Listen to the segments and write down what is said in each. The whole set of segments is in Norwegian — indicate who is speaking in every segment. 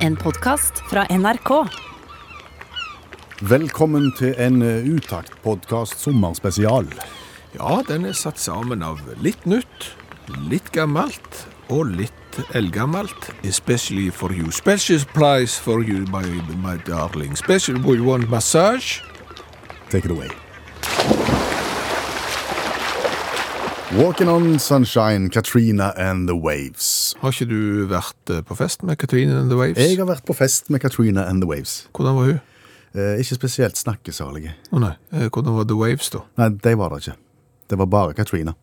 Speaker 1: En podkast fra NRK.
Speaker 2: Velkommen til en Utakt-podkast sommerspesial.
Speaker 3: Ja, den er satt sammen av litt nytt, litt gammelt og litt eldgammelt. Especially for you. Special price for you, my, my darling. Special we want massage.
Speaker 2: Take it away. Walking on sunshine, Katrina and the Waves.
Speaker 3: Har ikke du vært eh, på fest med Katrine and the Waves?
Speaker 2: Jeg har vært på fest med Katrina and the Waves.
Speaker 3: Hvordan var hun?
Speaker 2: Eh, ikke spesielt snakkesalige.
Speaker 3: Å nei, eh, hvordan var The Waves da?
Speaker 2: Nei, de var det ikke. Det var bare Katrina.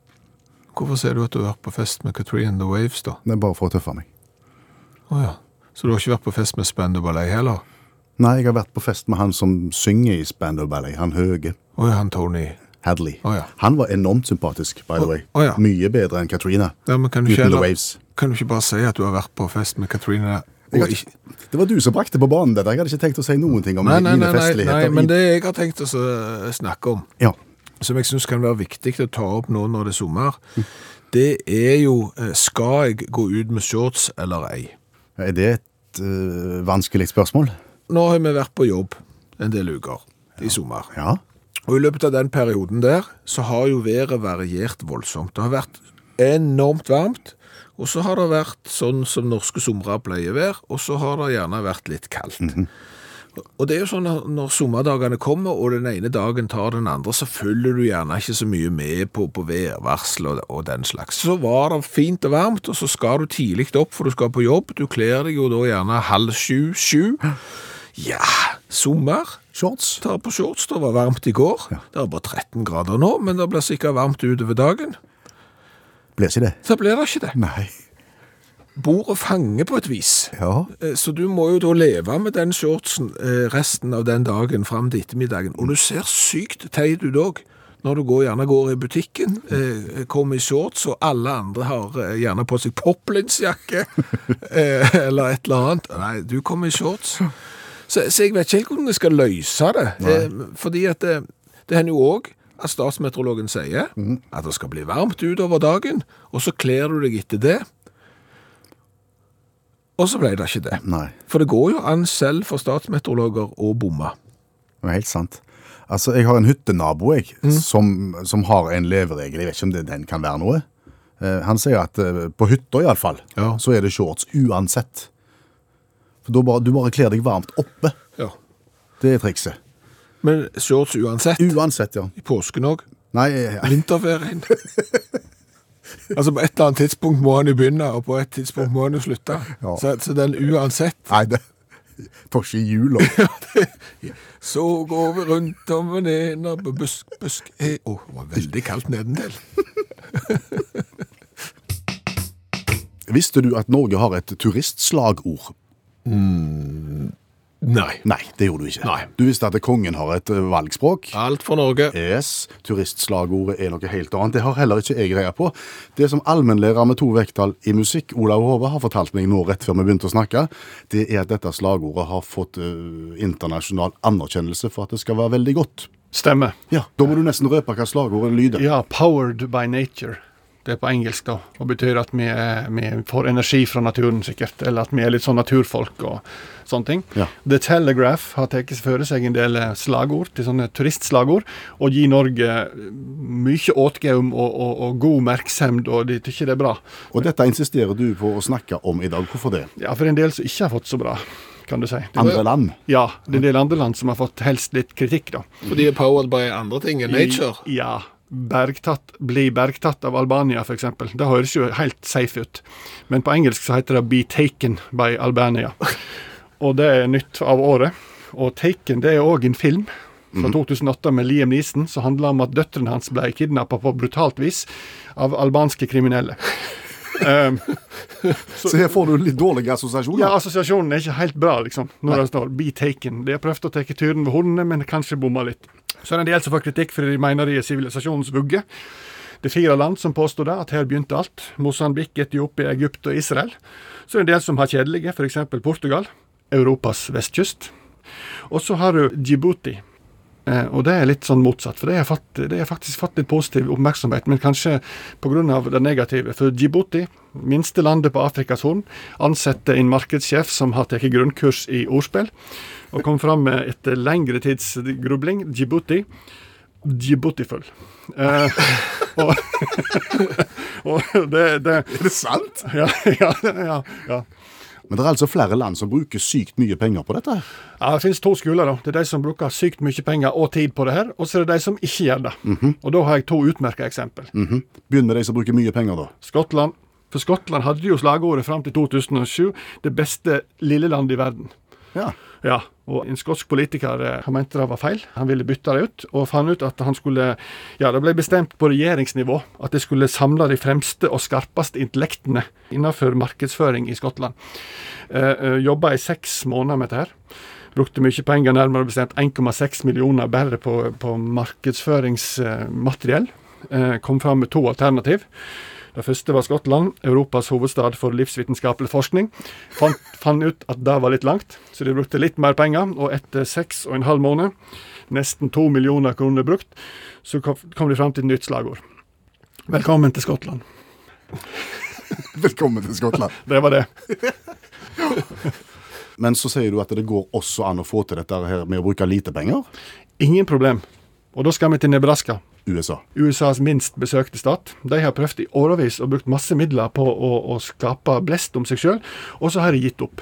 Speaker 3: Hvorfor sier du at du har vært på fest med Katrine and the Waves da?
Speaker 2: Det er bare for å tøffe meg.
Speaker 3: Å ja, så du har ikke vært på fest med Spandau Ballet heller?
Speaker 2: Nei, jeg har vært på fest med han som synger i Spandau Ballet, han høge.
Speaker 3: Å ja, han Tony.
Speaker 2: Hadley.
Speaker 3: Å, ja.
Speaker 2: Han var enormt sympatisk, by the way.
Speaker 3: å, ja.
Speaker 2: Mye bedre enn Katrina.
Speaker 3: Ja, men kan du, ikke,
Speaker 2: Uten The
Speaker 3: heller-
Speaker 2: Waves.
Speaker 3: kan du ikke bare si at du har vært på fest med Katrine
Speaker 2: Jeg
Speaker 3: og
Speaker 2: har
Speaker 3: ikke...
Speaker 2: ikke, det var du som brakte på banen dette. Jeg hadde ikke tenkt å si noen ting om
Speaker 3: Nei, nei,
Speaker 2: mine
Speaker 3: nei, nei,
Speaker 2: festligheter.
Speaker 3: nei,
Speaker 2: i-
Speaker 3: men det jeg har tenkt å s- snakke om,
Speaker 2: Ja,
Speaker 3: som jeg syns kan være viktig å ta opp nå når det er sommer, det er jo eh, skal jeg gå ut med shorts eller ei?
Speaker 2: Er det et øh, vanskelig spørsmål?
Speaker 3: Nå har vi vært på jobb en del uker i sommer.
Speaker 2: Ja.
Speaker 3: Og i løpet av den perioden der, så har jo været variert voldsomt. Det har vært enormt varmt, og så har det vært sånn som norske somre pleier å være, og så har det gjerne vært litt kaldt. Og det er jo sånn at når sommerdagene kommer, og den ene dagen tar den andre, så følger du gjerne ikke så mye med på, på værvarsel og, og den slags. Så var det fint og varmt, og så skal du tidlig opp, for du skal på jobb. Du kler deg jo da gjerne halv sju, sju. Ja, sommer
Speaker 2: Shorts?
Speaker 3: tar på shorts. Det var varmt i går. Det er bare 13 grader nå, men det blir sikkert varmt utover dagen.
Speaker 2: Blir ikke det?
Speaker 3: Så blir det ikke det.
Speaker 2: Nei.
Speaker 3: Bordet fanger på et vis.
Speaker 2: Ja.
Speaker 3: Eh, Så du må jo da leve med den shortsen eh, resten av den dagen fram til ettermiddagen. Og du ser sykt teit ut òg. Når du går, gjerne går i butikken, eh, kommer i shorts, og alle andre har eh, gjerne på seg poplinsjakke eh, eller et eller annet. Nei, du kommer i shorts. Så, så jeg vet ikke helt hvordan jeg skal løse det. Eh, fordi at eh, det hender jo òg at statsmeteorologen sier at det skal bli varmt utover dagen, og så kler du deg etter det. Og så ble det ikke det.
Speaker 2: Nei.
Speaker 3: For det går jo an selv for statsmeteorologer å bomme.
Speaker 2: Det er helt sant. Altså, jeg har en hyttenabo jeg,
Speaker 3: Mm.
Speaker 2: som, som har en leveregel. Jeg vet ikke om det, den kan være noe. Eh, han sier at eh, på hytta iallfall,
Speaker 3: Ja.
Speaker 2: så er det shorts uansett. For da bare, du bare kler deg varmt oppe.
Speaker 3: Ja.
Speaker 2: Det er trikset.
Speaker 3: Men shorts uansett.
Speaker 2: Uansett, ja.
Speaker 3: I påsken òg.
Speaker 2: Nei, eh,
Speaker 3: Vinterferien. altså, på et eller annet tidspunkt må han jo begynne, og på et tidspunkt må han jo slutte.
Speaker 2: Ja.
Speaker 3: Så, så den uansett
Speaker 2: nei det tar ikke i hjul. og-
Speaker 3: Så går vi rundt om en ener på busk, busk e- Å, det var veldig kaldt nedendel.
Speaker 2: Visste du at Norge har et turistslagord?
Speaker 3: Nei.
Speaker 2: Nei, det gjorde du ikke.
Speaker 3: Nei.
Speaker 2: Du visste at kongen har et eh, valgspråk?
Speaker 3: Alt for Norge.
Speaker 2: Yes, turistslagordet er noe helt annet. Det har heller ikke jeg greie på. Det som allmennlærer med to vekttall i musikk, Olav Hove, har fortalt meg nå rett før vi begynte å snakke, det er at dette slagordet har fått eh, internasjonal anerkjennelse for at det skal være veldig godt.
Speaker 4: Stemmer.
Speaker 2: Ja, Da må du nesten røpe hva slagordet lyder.
Speaker 4: Ja, 'powered by nature'. Det er på engelsk, da. Og betyr at vi, er, vi får energi fra naturen, sikkert. Eller at vi er litt sånn naturfolk og sånne ting.
Speaker 2: Ja.
Speaker 4: The Telegraph har tatt for seg en del eh, slagord til sånne turistslagord, og gir Norge eh, mye åtgaum og, og, og god merksemd, og de tykker det er bra.
Speaker 2: Og dette insisterer du på å snakke om i dag. Hvorfor det?
Speaker 4: Ja, for en del som ikke har fått så bra, kan du si. Det,
Speaker 2: Andre land?
Speaker 4: ja, det er en del andre land som har fått helst litt kritikk, da.
Speaker 3: For de er powered by andre ting enn nature.
Speaker 4: I, ja. Bergtatt, bli bergtatt av Albania, f.eks. Det høres jo helt safe ut. Men på engelsk så heter det 'Be taken by Albania'. Og det er nytt av året. Og 'Taken' det er òg en film fra 2008 med Liam Neeson som handler om at døtrene hans ble kidnappa på brutalt vis av albanske kriminelle. um,
Speaker 2: Så her får du litt dårlige assosiasjoner.
Speaker 4: ja, altså- assosiasjonen er ikke helt bra, liksom, når det står 'be taken'. De har prøvd å ta turen ved hundene, men kanskje bomma litt. Så er det en del som får kritikk fordi de mener de er sivilisasjonens vugge. Det er fire land som påstår det, at her begynte alt. Mosambik, Etiopia, Egypt og Israel. Så er det en del som har kjedelige, f.eks. Portugal. Europas vestkyst. Og så har du Djibouti, Eh, og det er litt sånn motsatt, for det har fått- det har faktisk fått litt positiv oppmerksomhet, men kanskje pga. det negative. For Djibouti, minste landet på Afrikas Horn, ansetter en markedssjef som har tatt grunnkurs i ordspill, og kom fram med etter lengre tids grubling Djibouti. Djibouti-full. Eh, og, og det, det
Speaker 2: Er det sant?
Speaker 4: ja, ja, ja, ja.
Speaker 2: Men det er altså flere land som bruker sykt mye penger på dette. her.
Speaker 4: Ja, Det finnes to skoler. da. Det er de som bruker sykt mye penger og tid på det her, og så er det de som ikke gjør det. Og Da har jeg to utmerka eksempel.
Speaker 2: Mhm. Begynn med de som bruker mye penger, da.
Speaker 4: Skottland. For Skottland hadde jo slagordet fram til 2007 'det beste lille landet i verden'.
Speaker 2: Ja.
Speaker 4: Ja, og En skotsk politiker eh, han mente det var feil. Han ville bytte det ut, og fant ut at han skulle Ja, det ble bestemt på regjeringsnivå at de skulle samle de fremste og skarpeste intellektene innenfor markedsføring i Skottland. Eh, eh, Jobba i seks måneder med dette her. Brukte mye penger, nærmere bestemt 1,6 millioner bare på, på markedsføringsmateriell. Eh, kom fram med to alternativ. Det første var Skottland, Europas hovedstad for livsvitenskapelig forskning. Fant, fant ut at det var litt langt, så de brukte litt mer penger. Og etter seks og en halv måned, nesten to millioner kroner brukt, så kom kom de fram til et nytt slagord. Velkommen til Skottland.
Speaker 2: Velkommen til Skottland.
Speaker 4: Det var det.
Speaker 2: Men så sier du at det går også an å få til dette her med å bruke lite penger.
Speaker 4: Ingen problem. Og da skal vi til Nebraska.
Speaker 2: USA.
Speaker 4: USAs minst besøkte stat. De har prøvd i årevis og brukt masse midler på å, å skape blest om seg sjøl, og så har de gitt opp.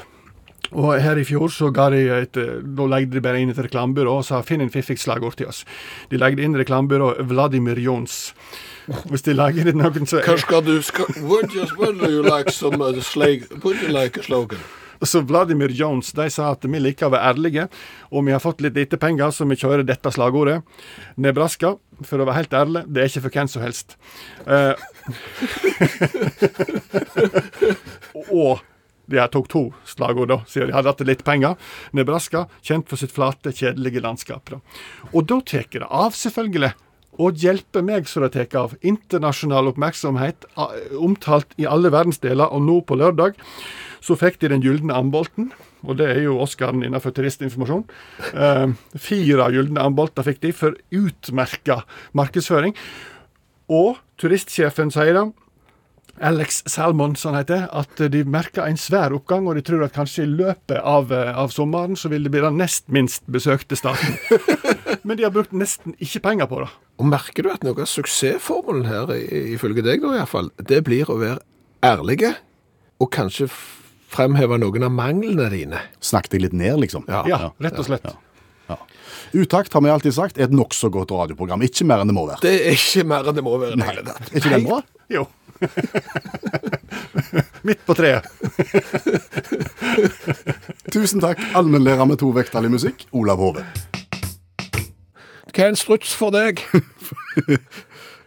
Speaker 4: Og her i fjor så ga de et, eh, da legde de bare inn et reklamebyrå og sa 'finn en fiffig slagord til oss'. De legde inn reklamebyrået Vladimir Jons. Hvis de lager inn noen så
Speaker 5: Hva skal du skal, would, you, would you like some uh, slag, Would you like a slogan?
Speaker 4: Så Vladimir Jones de sa at vi liker å være ærlige, og vi har fått litt lite penger, så vi kjører dette slagordet. Nebraska, for å være helt ærlig, det er ikke for hvem som helst. Eh, og de her tok to slagord, da, siden de hadde hatt litt penger. Nebraska, kjent for sitt flate, kjedelige landskap. Da. Og da tar det av, selvfølgelig. Og hjelper meg som det tar av. Internasjonal oppmerksomhet, a- omtalt i alle verdensdeler, og nå på lørdag så fikk de Den gylne ambolten, og det er jo Oscaren innenfor turistinformasjon. Eh, fire gylne ambolter fikk de for utmerka markedsføring. Og turistsjefen sier det, Alex Salmon, som han heter, at de merker en svær oppgang, og de tror at kanskje i løpet av, eh, av sommeren så vil det bli den nest minst besøkte staten. Men de har brukt nesten ikke penger på det.
Speaker 3: Og merker du at noe av suksessformelen her, i- ifølge deg da iallfall, det blir å være ærlige, og kanskje f- fremheve noen av manglene dine.
Speaker 2: Snakk deg litt ned, liksom.
Speaker 3: Ja.
Speaker 4: Ja, rett og slett.
Speaker 2: Utakt har vi alltid sagt er et nokså godt radioprogram. Ikke mer enn det må være.
Speaker 3: Det er ikke mer enn det må være. i det hele tatt.
Speaker 2: Er ikke den bra?
Speaker 4: Jo. Midt på treet.
Speaker 2: Tusen takk, allmennlærer med to vekttall i musikk, Olav Hove.
Speaker 3: Hva er en struts for deg?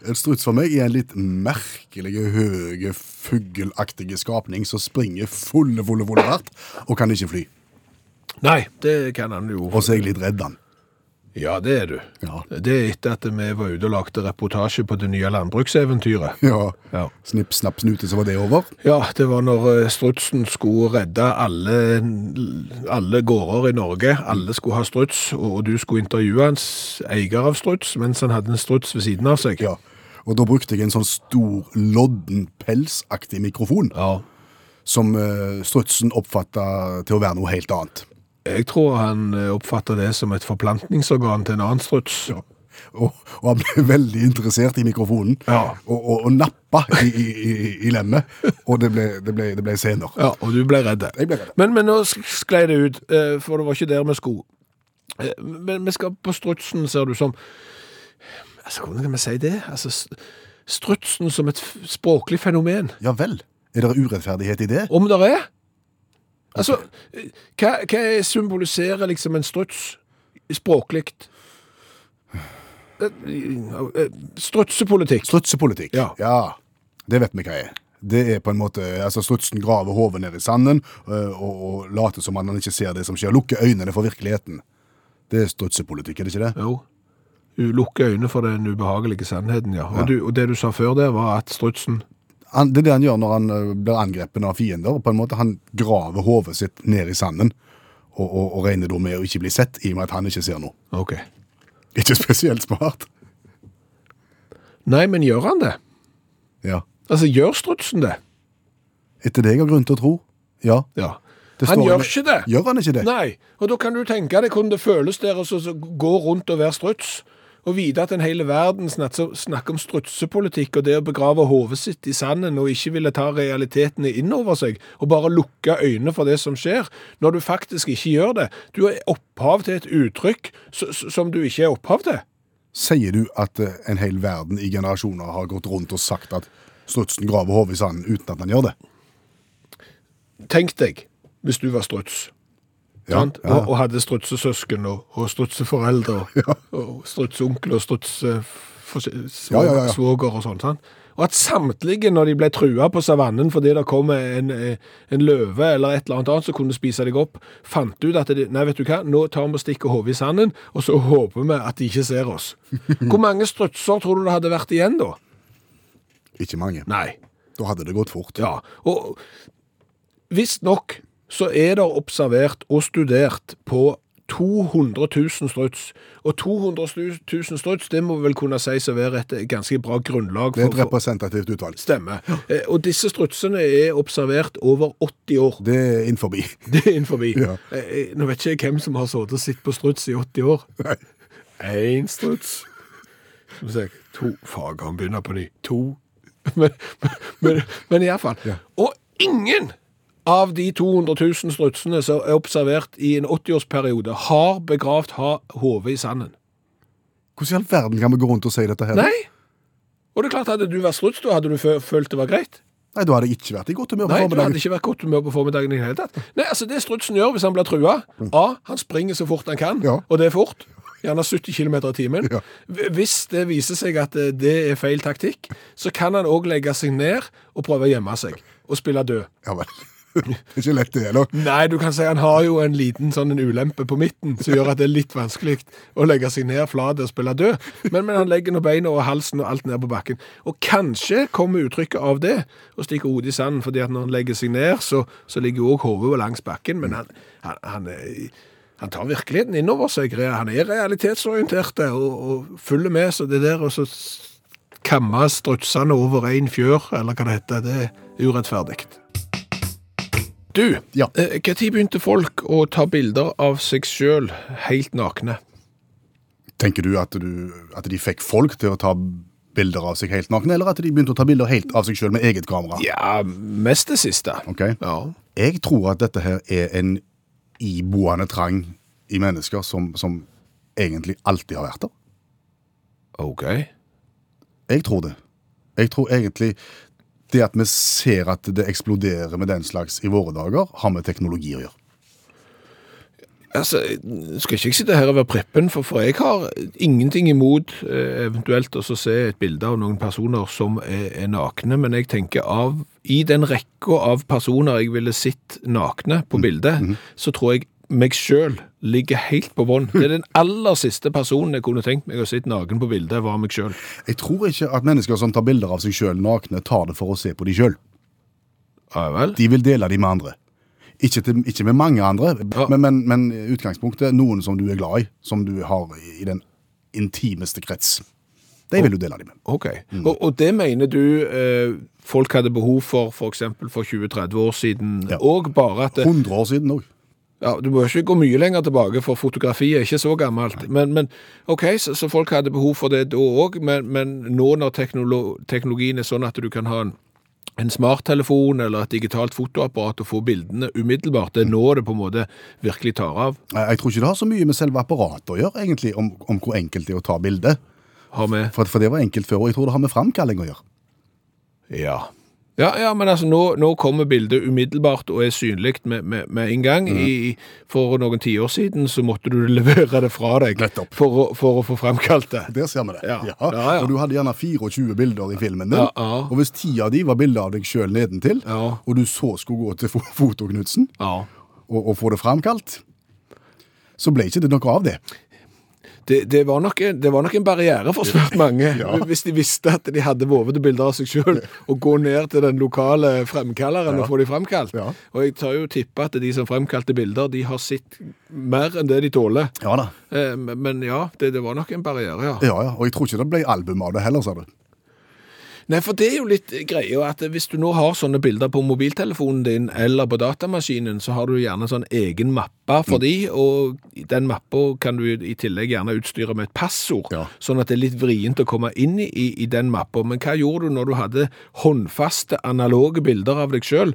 Speaker 2: En struts for meg er en litt merkelig, høye, fugleaktig skapning som springer fulle, fulle, fulle hardt, og kan ikke fly.
Speaker 3: Nei, det kan han jo.
Speaker 2: Og så er jeg litt redd han.
Speaker 3: Ja, det er du.
Speaker 2: Ja.
Speaker 3: Det er etter at vi var ute og lagde reportasje på det nye landbrukseventyret.
Speaker 2: Ja.
Speaker 3: Ja.
Speaker 2: Snipp, snapp, snute, så var det over.
Speaker 3: Ja, det var når eh, strutsen skulle redde alle, alle gårder i Norge. Alle skulle ha struts, og du skulle intervjue hans eier av struts mens han hadde en struts ved siden av seg.
Speaker 2: Ja. Og da brukte jeg en sånn stor, lodden, pelsaktig mikrofon,
Speaker 3: Ja.
Speaker 2: som eh, strutsen oppfatta til å være noe helt annet.
Speaker 3: Jeg tror han eh, oppfatter det som et forplantningsorgan til en annen struts. Ja.
Speaker 2: Og, og han ble veldig interessert i mikrofonen,
Speaker 3: Ja.
Speaker 2: og, og, og nappa i, i, i, i lemmet. Og det ble, det ble, det ble scener.
Speaker 3: og du ble redd.
Speaker 2: Jeg ble redd.
Speaker 3: Men, men nå sk- sklei det ut, eh, for det var ikke der vi skulle. Eh, Men vi skal på strutsen, ser du, som Altså, hvordan kan vi si det? Altså, s- strutsen som et f- språklig fenomen.
Speaker 2: Ja vel. Er det urettferdighet i det?
Speaker 3: Om det er? Altså, hva, hva symboliserer liksom en struts språklig? Eh, Strutsepolitikk.
Speaker 2: Strutsepolitikk.
Speaker 3: Ja.
Speaker 2: Det vet vi hva er. Det er på en måte, altså Strutsen graver hodet ned i sanden øh, og, og later som han ikke ser det som skjer. Lukker øynene for virkeligheten. Det er strutsepolitikk, er det ikke det?
Speaker 3: Jo. Du lukker øynene for den ubehagelige sannheten, ja. Og, Du, og det du sa før der, var at strutsen
Speaker 2: Han, det er det han gjør når han øh, blir angrepet av fiender. på en måte Han graver hodet sitt ned i sanden og, og, og regner da med å ikke bli sett, i og med at han ikke ser noe.
Speaker 3: Ok.
Speaker 2: Ikke spesielt smart.
Speaker 3: Nei, men gjør han det?
Speaker 2: Ja.
Speaker 3: Altså, gjør strutsen det?
Speaker 2: Etter det jeg har grunn til å tro. Ja.
Speaker 3: Ja.
Speaker 2: Det
Speaker 3: Han
Speaker 2: står
Speaker 3: gjør
Speaker 2: i-
Speaker 3: ikke det.
Speaker 2: Gjør han ikke det?
Speaker 3: Nei, og da kan du tenke deg hvordan det føles der å så- så gå rundt og være struts, og vite at en hele verden snakker, snakker om strutsepolitikk, og det å begrave hodet sitt i sanden og ikke ville ta realitetene inn over seg, og bare lukke øynene for det som skjer, når du faktisk ikke gjør det. Du er opphav til et uttrykk s- s- som du ikke er opphav til.
Speaker 2: Sier du at eh, en hel verden i generasjoner har gått rundt og sagt at strutsen graver hodet i sanden uten at han gjør det?
Speaker 3: Tenk deg, hvis du var struts,
Speaker 2: Ja,
Speaker 3: sant?
Speaker 2: ja.
Speaker 3: Og, og hadde strutsesøsken og, og strutseforeldre og, og strutseonkel og strutsesvoger
Speaker 2: Ja, ja, ja, ja.
Speaker 3: og sånn. Sant? Og at samtlige, når de ble trua på savannen fordi det kom en, eh, en løve eller et eller annet annet som kunne spise deg opp, fant ut at de, nei, vet du hva, nå tar vi og stikker hodet i sanden, og så håper vi at de ikke ser oss. Hvor mange strutser tror du det hadde vært igjen da?
Speaker 2: Ikke mange.
Speaker 3: Nei.
Speaker 2: Da hadde det gått fort.
Speaker 3: Ja, og visstnok så er det observert og studert på 200 000 struts. Og 200 000 struts, det må vi vel kunne sies å være et ganske bra grunnlag
Speaker 2: Det er
Speaker 3: for,
Speaker 2: et
Speaker 3: for
Speaker 2: representativt utvalg.
Speaker 3: stemme. Eh, Og disse strutsene er observert over 80 år.
Speaker 2: Det er inn forbi.
Speaker 3: Det er innenfor.
Speaker 2: Ja.
Speaker 3: Eh, Nå vet ikke jeg hvem som har sittet og sett på struts i 80 år. Én struts. Skal vi se To fag han begynner på ny. To Men, men, men iallfall. Og ingen av de 200 000 strutsene som er observert i en 80-årsperiode, har begravd ha- hodet i sanden.
Speaker 2: Hvordan i all verden kan vi gå rundt og si dette her?
Speaker 3: Nei! Og det er klart, hadde du vært struts, da hadde du fø- følt det var greit.
Speaker 2: Nei, da hadde jeg ikke vært i godt humør på
Speaker 3: Nei, du hadde
Speaker 2: formiddagen.
Speaker 3: ikke vært godt humør på formiddagen i det hele tatt. Nei, altså det strutsen gjør hvis han blir trua A. Han springer så fort han kan,
Speaker 2: Mm. Ja.
Speaker 3: og det er fort. Gjerne 70 km i timen.
Speaker 2: Ja.
Speaker 3: Hv- Hvis det viser seg at eh, det er feil taktikk, så kan han òg legge seg ned og prøve å gjemme seg og spille død.
Speaker 2: Ja vel. Det er ikke lett det heller.
Speaker 3: Nei, du kan si han har jo en liten sånn en ulempe på midten som gjør at det er litt vanskelig å legge seg ned flat og spille død. Men, men han legger nå beina og halsen og alt ned på bakken. Og kanskje kommer uttrykket av det og stikker hodet i sanden, fordi at når han legger seg ned, så, så ligger jo òg hodet langs bakken. Men han, han, han, er- han tar virkeligheten inn over seg. Han er realitetsorientert der, og, og følger med, så det der og så s- kamme strutsene over en fjør, eller hva det heter, det er urettferdig. Du,
Speaker 2: Ja.
Speaker 3: eh, hva tid begynte folk å ta bilder av seg sjøl helt nakne?
Speaker 2: Tenker du at, du at de fikk folk til å ta bilder av seg helt nakne, eller at de begynte å ta bilder helt av seg sjøl med eget kamera?
Speaker 3: Ja, mest det siste.
Speaker 2: Ok.
Speaker 3: Ja.
Speaker 2: Jeg tror at dette her er en iboende trang i mennesker som, som egentlig alltid har vært der.
Speaker 3: OK.
Speaker 2: Jeg tror det. Jeg tror egentlig det at vi ser at det eksploderer med den slags i våre dager, har med teknologi å gjøre.
Speaker 3: Altså, skal ikke jeg sitte her og være prippen, for, for jeg har ingenting imot eh, eventuelt å så se et bilde av noen personer som er, er nakne, men jeg tenker av I den rekka av personer jeg ville sett nakne på bildet, så tror jeg meg sjøl ligger helt på bånn. Det er den aller siste personen jeg kunne tenkt meg å sitte naken på bildet, var meg sjøl.
Speaker 2: Jeg tror ikke at mennesker som tar bilder av seg sjøl nakne, tar det for å se på de sjøl.
Speaker 3: Ja vel?
Speaker 2: De vil dele de med andre. Ikke, til, ikke med mange andre,
Speaker 3: Ja.
Speaker 2: men, men, men utgangspunktet noen som du er glad i, som du har i den intimeste krets. De vil du dele de med.
Speaker 3: Ok. Og, og det mener du eh, folk hadde behov for f.eks. for, for 20-30 år siden
Speaker 2: Ja.
Speaker 3: òg, bare at det,
Speaker 2: 100 år siden òg.
Speaker 3: Ja, Du må ikke gå mye lenger tilbake, for fotografi er ikke så gammelt. Men, men OK, så, så folk hadde behov for det da òg, men, men nå når teknolo teknologien er sånn at du kan ha en, en smarttelefon eller et digitalt fotoapparat og få bildene umiddelbart, det er nå det på en måte virkelig tar av.
Speaker 2: Jeg jeg tror ikke det har så mye med selve apparatet å gjøre, egentlig, om, om hvor enkelt det er å ta bilde.
Speaker 3: Har vi
Speaker 2: For, for det var enkelt før, og jeg tror det har med framkalling å gjøre.
Speaker 3: Ja. Ja, ja, men altså, nå, nå kommer bildet umiddelbart og er synlig med, med, med en gang.
Speaker 2: Mhm.
Speaker 3: I, for noen tiår siden så måtte du levere det fra deg
Speaker 2: Nettopp.
Speaker 3: for, å, for å få framkalt det.
Speaker 2: Der ser vi det.
Speaker 3: Ja. Ja, ja.
Speaker 2: Og du hadde gjerne 24 bilder i filmen din.
Speaker 3: Ja, ja.
Speaker 2: Og hvis ti av de var bilder av deg sjøl nedentil,
Speaker 3: Ja.
Speaker 2: og du så skulle gå til fo- Fotoknutsen
Speaker 3: Ja.
Speaker 2: og, og få det framkalt, så ble ikke det noe av det.
Speaker 3: det, det, var nok en, det var nok en barriere for svært mange, hvis de visste at de hadde vovete bilder av seg sjøl, og gå ned til den lokale fremkalleren og få de fremkalt.
Speaker 2: Ja.
Speaker 3: Og jeg tør jo tippe at de som fremkalte bilder, de har sett mer enn det de tåler.
Speaker 2: Ja da.
Speaker 3: Eh, men men ja, det, det var nok en barriere, ja.
Speaker 2: Ja, ja. Og jeg tror ikke det ble album av det heller, sa du.
Speaker 3: Nei, for det er jo litt greia at hvis du nå har sånne bilder på mobiltelefonen din eller på datamaskinen, så har du gjerne sånn egen mappe for de, og den mappa kan du i tillegg gjerne utstyre med et passord,
Speaker 2: Ja.
Speaker 3: sånn at det er litt vrient å komme inn i, i den mappa. Men hva gjorde du når du hadde håndfaste, analoge bilder av deg sjøl?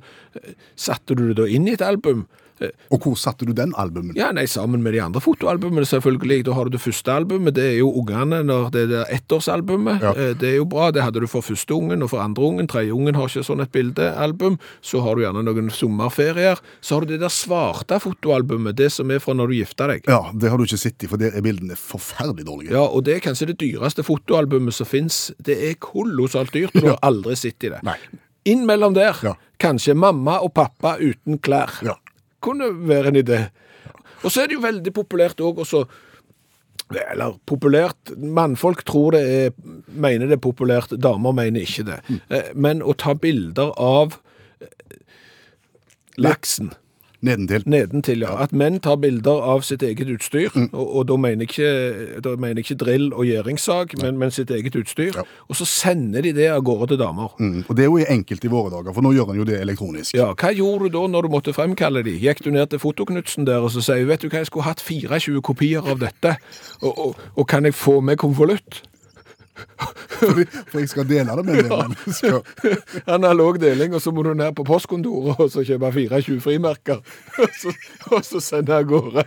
Speaker 3: Satte du det da inn i et album?
Speaker 2: Og hvor satte du den albumen?
Speaker 3: Ja, nei, sammen med de andre fotoalbumene selvfølgelig. Da har du det første albumet, det er jo ungene når det er det ettårsalbumet.
Speaker 2: Ja.
Speaker 3: Eh, Det er jo bra, det hadde du for første ungen og for andre ungen. Tredje ungen har ikke sånn et bildealbum. Så har du gjerne noen sommerferier. Så har du det der svarte fotoalbumet, det som er fra når du gifta deg.
Speaker 2: Ja, det har du ikke sett i, for der er bildene forferdelig dårlige.
Speaker 3: Ja, og det er kanskje det dyreste fotoalbumet som fins. Det er kolossalt dyrt, og du har aldri sett i det.
Speaker 2: Nei.
Speaker 3: Innmellom der,
Speaker 2: Ja.
Speaker 3: kanskje mamma og pappa uten klær.
Speaker 2: Ja.
Speaker 3: Kunne være en idé. Og så er det jo veldig populært òg også eller populært Mannfolk tror det er mener det er populært, damer mener ikke det. Eh, Men å ta bilder av eh, laksen
Speaker 2: Nedentil.
Speaker 3: nedentil, ja. At menn tar bilder av sitt eget utstyr, og, og da, mener jeg ikke, da mener jeg ikke drill og gjæringssag, men, men sitt eget utstyr. Og så sender de det av gårde til damer.
Speaker 2: Mm. Og det er jo enkelt i våre dager, for nå gjør en jo det elektronisk.
Speaker 3: Ja, Hva gjorde du da når du måtte fremkalle de? Gikk du ned til fotoknutsen der og så sier vet du hva, jeg skulle hatt 24 kopier av dette, og, og, og kan jeg få med konvolutt?
Speaker 2: Fordi- For jeg skal dele det med en del mennesker.
Speaker 3: Analog deling, og så må du ned på postkontoret og så kjøpe 24 frimerker. Og så, og så sende av gårde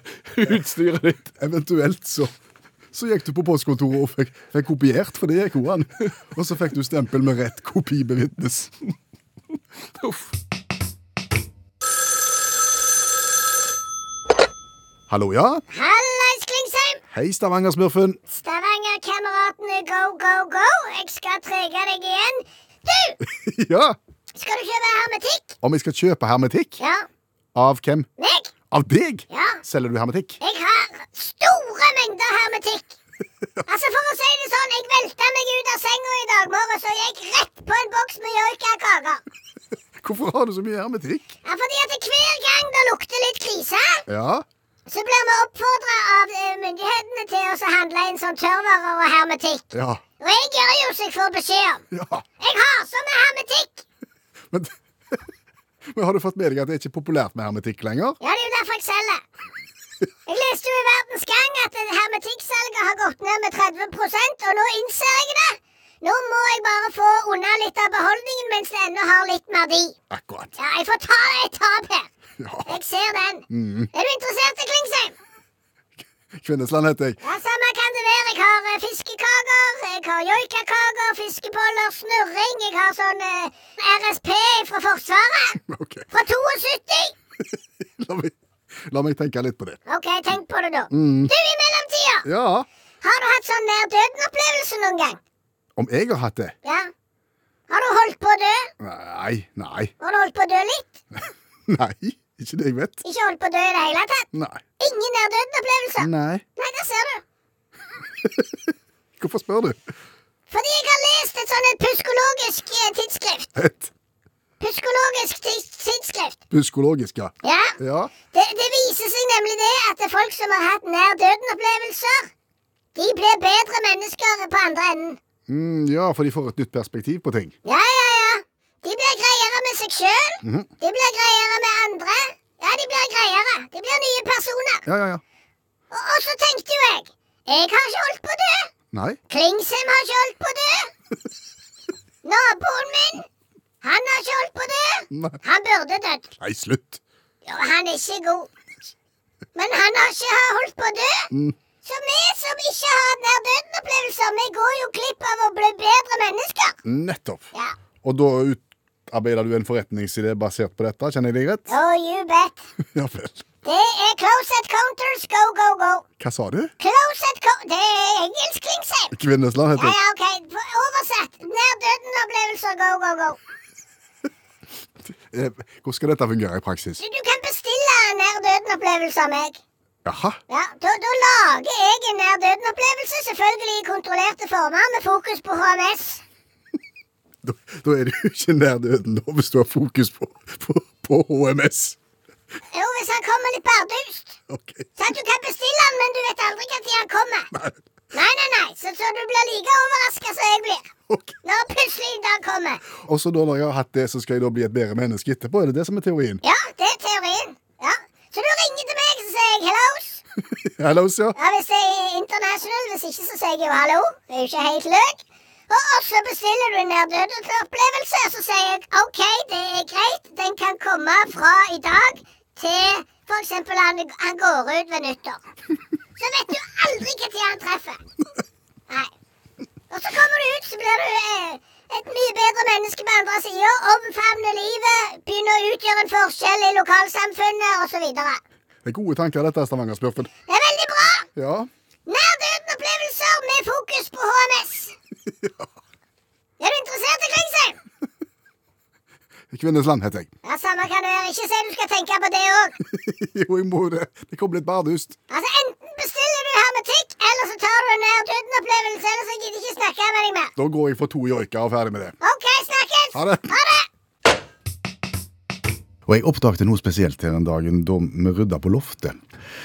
Speaker 3: utstyret ditt.
Speaker 2: Eventuelt så, så gikk du på postkontoret og fikk, fikk kopiert, for det gikk jo an. Og så fikk du stempel med rett kopi bevitnes.
Speaker 3: Uff.
Speaker 2: Hallo, ja?
Speaker 6: Hallais, Klingsheim!
Speaker 2: Hei, Stavanger-smurfen.
Speaker 6: Stavanger-kameratene go, go, go! Jeg skal trege deg igjen. Du!
Speaker 2: Ja,
Speaker 6: Skal du kjøpe hermetikk?
Speaker 2: om jeg skal kjøpe hermetikk?
Speaker 6: Ja.
Speaker 2: Av hvem?
Speaker 6: Meg?
Speaker 2: Av deg?
Speaker 6: Ja.
Speaker 2: Selger du hermetikk?
Speaker 6: Jeg har store mengder hermetikk. Altså, for å si det sånn, jeg velta meg ut av senga i dag morges og gikk rett på en boks med joikakaker.
Speaker 2: Hvorfor har du så mye hermetikk?
Speaker 6: Ja, fordi at hver gang det lukter litt krise,
Speaker 2: Ja,
Speaker 6: så blir vi oppfordra av eh, myndighetene til å så handle inn sånn tørrvarer og hermetikk.
Speaker 2: ja,
Speaker 6: Og jeg gjør jo som jeg får beskjed om.
Speaker 2: ja.
Speaker 6: Jeg har sånn med hermetikk.
Speaker 2: Men, men har du fått med deg at det er ikke populært med hermetikk lenger?
Speaker 6: Ja, det er jo derfor jeg selger. Jeg leste jo i Verdens Gang at hermetikksalget har gått ned med 30 og nå innser jeg det. Nå må jeg bare få unna litt av beholdningen mens det ennå har litt verdi.
Speaker 2: Akkurat.
Speaker 6: Ja, jeg får ta et tap her.
Speaker 2: Ja,
Speaker 6: Jeg ser den. Er du interessert i Klingsheim?
Speaker 2: Kvinnesland heter jeg.
Speaker 6: Ja, Samme kan det være. Jeg har eh, fiskekaker, jeg har joikakaker, fiskeboller, snurring. Jeg har sånn eh, RSP fra Forsvaret.
Speaker 2: Ok,
Speaker 6: Fra 72.
Speaker 2: la meg, la meg tenke litt på det.
Speaker 6: OK, tenk på det, da. Du, i mellomtida.
Speaker 2: Ja,
Speaker 6: Har du hatt sånn nær døden-opplevelse noen gang?
Speaker 2: om jeg har hatt det?
Speaker 6: Ja. Har du holdt på å dø?
Speaker 2: Nei, nei,
Speaker 6: Har du holdt på å dø litt?
Speaker 2: nei. Ikke det jeg vet.
Speaker 6: Ikke holdt på å dø i det hele tatt?
Speaker 2: Nei.
Speaker 6: Ingen nær døden-opplevelser?
Speaker 2: Nei.
Speaker 6: Nei, der ser du.
Speaker 2: Hvorfor spør du?
Speaker 6: Fordi jeg har lest et sånn et pyskologisk eh, tidsskrift.
Speaker 2: Et
Speaker 6: Pyskologisk tids tidsskrift.
Speaker 2: pyskologisk, ja.
Speaker 6: Ja.
Speaker 2: Ja,
Speaker 6: Det, det viser seg nemlig det at det er folk som har hatt nær døden-opplevelser, de blir bedre mennesker på andre enden.
Speaker 2: mm, ja for de får et nytt perspektiv på ting.
Speaker 6: Ja, ja, ja. De blir greiere med seg sjøl. De blir greiere med andre. Ja, de blir greiere. De blir nye personer.
Speaker 2: Ja, ja, ja.
Speaker 6: Og, og så tenkte jo jeg Jeg har ikke holdt på å dø.
Speaker 2: Nei.
Speaker 6: Klingsheim har ikke holdt på å dø. Naboen min, han har ikke holdt på å dø.
Speaker 2: Nei.
Speaker 6: Han burde dødd.
Speaker 2: Nei, slutt.
Speaker 6: Jo, han er ikke god. Men han har ikke holdt på å dø. Så vi som ikke har hatt nær døden-opplevelser, vi går jo glipp av å bli bedre mennesker.
Speaker 2: Nettopp.
Speaker 6: Ja.
Speaker 2: Og da utarbeider du en forretningsidé basert på dette, kjenner jeg deg rett?
Speaker 6: Oh, you bet.
Speaker 2: Ja vel.
Speaker 6: Det er Closet Counters Go Go Go.
Speaker 2: Hva sa du?
Speaker 6: Closet Co... Det er engelsk, Klingsheim.
Speaker 2: Kvinnesland
Speaker 6: Ja,
Speaker 2: heter jeg.
Speaker 6: ja, OK. F- Oversett. Nær døden-opplevelser go, go, go.
Speaker 2: Eh, Hvordan skal dette fungere i praksis?
Speaker 6: Du, du kan bestille nær døden-opplevelser av meg.
Speaker 2: Jaha.
Speaker 6: Ja, da, da lager jeg en nær-døden-opplevelse, selvfølgelig i kontrollerte former, med fokus på HMS.
Speaker 2: Da, da er du ikke nær døden nå, hvis du har fokus på, på, på HMS.
Speaker 6: Jo, hvis han kommer litt bardust.
Speaker 2: Ok.
Speaker 6: Sånn, du kan bestille han, men du vet aldri når han kommer.
Speaker 2: Nei.
Speaker 6: Nei, nei, nei, så, så du blir like overraska som jeg blir.
Speaker 2: Ok.
Speaker 6: Når plutselig en dag kommer.
Speaker 2: Og så da når jeg har hatt det, så skal jeg da bli et bedre menneske etterpå? Er det det som er teorien?
Speaker 6: Ja, det er teorien. Ja. Så du ringer til meg, så sier jeg hellos.
Speaker 2: Hallo, ja.
Speaker 6: Ja, Hvis det er international, hvis ikke, så sier jeg jo hallo. Det er jo ikke helt løk. Og, og så bestiller du en nær-døden-opplevelse, og så sier jeg OK, det er greit. Den kan komme fra i dag til f.eks. Han, han går ut ved nyttår. Så vet du aldri når han treffer. Nei. Og så kommer du ut, så blir du eh, et mye bedre menneske på andre sida. Omfavner livet, begynner å utgjøre en forskjell i lokalsamfunnet osv. Det
Speaker 2: Det er gode tanker, dette, Stavanger-spurfen.
Speaker 6: er veldig bra.
Speaker 2: Ja.
Speaker 6: Nær-døden-opplevelser med fokus på HMS. Er du interessert i Klingsheim?
Speaker 2: Kvinnesland heter jeg.
Speaker 6: Ja, Samme kan det være. Ikke si du skal tenke på det òg.
Speaker 2: jo, jeg må jo det. Det kom litt bardust.
Speaker 6: Altså, enten bestiller du hermetikk, eller så tar du en nær-døden-opplevelse. Ellers så gidder jeg ikke snakke med deg mer.
Speaker 2: Da går jeg for to joiker og ferdig med det.
Speaker 6: OK, snakkes!
Speaker 2: Ha det.
Speaker 6: Ha det!
Speaker 2: Og jeg oppdagte noe spesielt her en dagen da vi rydda på loftet.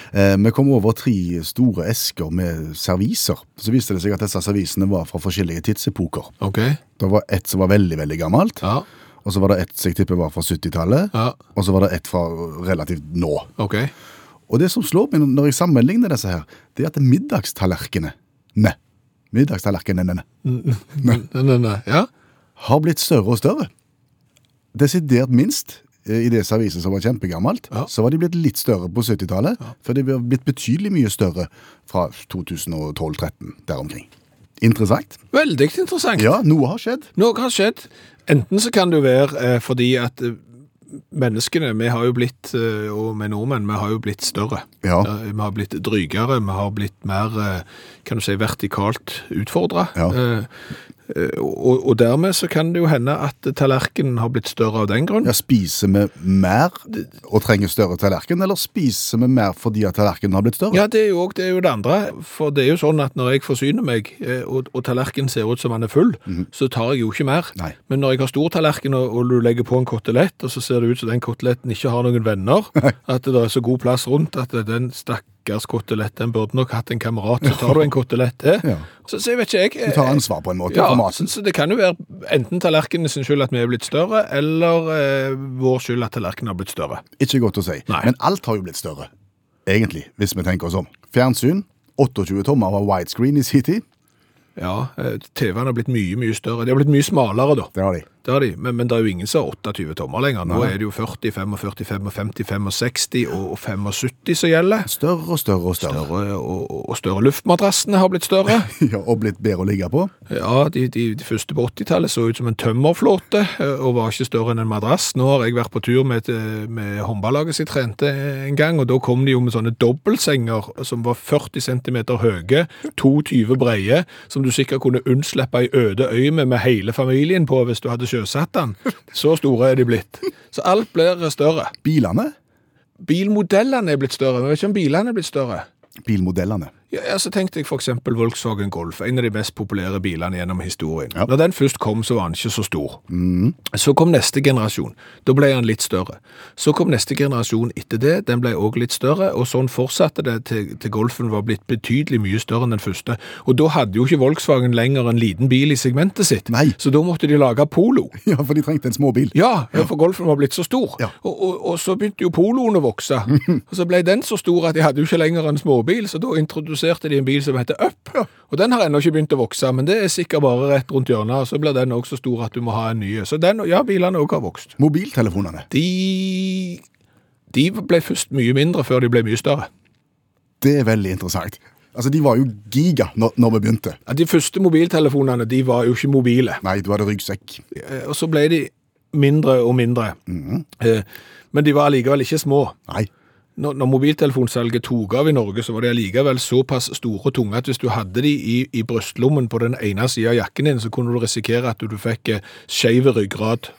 Speaker 2: Eh, vi kom over tre store esker med serviser. Så viste det seg at disse servisene var fra forskjellige tidsepoker.
Speaker 3: OK.
Speaker 2: Det var ett som var veldig, veldig gammelt.
Speaker 3: Ja.
Speaker 2: Og så var det ett som jeg tipper var fra 70-tallet.
Speaker 3: Ja.
Speaker 2: Og så var det ett fra relativt nå.
Speaker 3: OK.
Speaker 2: Og det som slår meg når jeg sammenligner disse her, det er at middagstallerkenene Nei. Middagstallerkenene
Speaker 3: Nei, nei, nei. Ja.
Speaker 2: har blitt større og større. Desidert minst eh, i det serviset som var kjempegammelt,
Speaker 3: Ja.
Speaker 2: så var de blitt litt større på 70-tallet, for de var blitt betydelig mye større fra 2012-13 der omkring. Interessant.
Speaker 3: Veldig interessant.
Speaker 2: Ja, noe har skjedd.
Speaker 3: Noe har skjedd. Enten så kan det jo være eh, fordi at eh, menneskene, vi har jo blitt, eh, og vi nordmenn, vi har jo blitt større.
Speaker 2: Ja.
Speaker 3: Eh, Vi har blitt drygere, vi har blitt mer, eh, kan du si, vertikalt utfordret.
Speaker 2: Ja.
Speaker 3: Eh, eh, Og, og dermed så kan det jo hende at tallerkenen har blitt større av den grunn.
Speaker 2: Ja, spiser vi mer og trenger større tallerken, eller spiser vi mer fordi at tallerkenen har blitt større?
Speaker 3: Ja, det er jo òg det, er jo det andre. For det er jo sånn at når jeg forsyner meg, eh, og, og tallerkenen ser ut som den er full, så tar jeg jo ikke mer.
Speaker 2: Mhm. Nei.
Speaker 3: Men når jeg har stor tallerken, og, og du legger på en kotelett, og så ser det ut som den koteletten ikke har noen venner, at det er så god plass rundt at den stakkars kotelett, den burde nok hatt en kamerat, så tar du en kotelett til.
Speaker 2: Ja.
Speaker 3: Så, så jeg vet ikke, jeg eh,
Speaker 2: Du tar ansvar på en måte for
Speaker 3: ja, så,
Speaker 2: maten.
Speaker 3: så det kan jo være enten tallerkenen sin skyld at vi er blitt større, eller eh, vår skyld at tallerkenen har blitt større.
Speaker 2: Ikke godt å si.
Speaker 3: Nei.
Speaker 2: Men alt har jo blitt større, egentlig, hvis vi tenker oss om. Fjernsyn, 28 tommer var widescreen i sin tid.
Speaker 3: Ja, eh, TV-en har blitt mye, mye større. De har blitt mye smalere da.
Speaker 2: Det har de.
Speaker 3: Det har de, men, men det er jo ingen som har 28 tommer lenger. Nå er det jo 40, 45, 55, 65 og, og 75 som gjelder.
Speaker 2: Større og større og større.
Speaker 3: Større, og, og- og større luftmadrassene har blitt større.
Speaker 2: Ja, og blitt bedre å ligge på.
Speaker 3: Ja, de, de, de første på 80-tallet så ut som en tømmerflåte eh, og var ikke større enn en madrass. Nå har jeg vært på tur med, et, eh, med håndballaget som jeg trente en gang, og da kom de jo med sånne dobbeltsenger som var 40 cm høye, 22 breie, som du sikkert kunne unnslippe ei øde øy med med hele familien på hvis du hadde sjøsatt den. Så store er de blitt. Så alt blir større.
Speaker 2: Bilene,
Speaker 3: Bilmodellene er blitt større, men jeg vet ikke om bilene er blitt større.
Speaker 2: bilmodellene.
Speaker 3: Ja, ja, så tenkte jeg for eksempel Volkswagen Golf, en av de mest populære bilene gjennom historien. Når den først kom, så var den ikke så stor. Så kom neste generasjon. Da ble den litt større. Så kom neste generasjon etter det, den ble også litt større, og sånn fortsatte det til, til Golfen var blitt betydelig mye større enn den første. Og da hadde jo ikke Volkswagen lenger en liten bil i segmentet sitt,
Speaker 2: Nei.
Speaker 3: så da måtte de lage Polo.
Speaker 2: Ja, for de trengte en småbil.
Speaker 3: Ja, for golfen var blitt så stor.
Speaker 2: Ja.
Speaker 3: Og, og, og så begynte jo poloen å vokse. Og så ble den så stor at de hadde jo ikke lenger en småbil, så da introduserte de en bil som heter Up. Og den har ennå ikke begynt å vokse, men det er sikkert bare rett rundt hjørnet. og Så blir den også så stor at du må ha en ny. Så den, ja, bilene òg har vokst.
Speaker 2: Mobiltelefonene.
Speaker 3: De De ble først mye mindre før de ble mye større.
Speaker 2: Det er veldig interessant. Altså, de var jo giga når, når vi begynte.
Speaker 3: Ja, De første mobiltelefonene de var jo ikke mobile.
Speaker 2: Nei, du hadde ryggsekk.
Speaker 3: Eh, Og så ble de mindre og mindre. Eh, Men de var allikevel ikke små.
Speaker 2: Nei.
Speaker 3: Når, når mobiltelefonsalget tok av i Norge, så var de allikevel såpass store og tunge at hvis du hadde de i, i brystlommen på den ene sida av jakken din, så kunne du risikere at du fikk eh, skeiv ryggrad.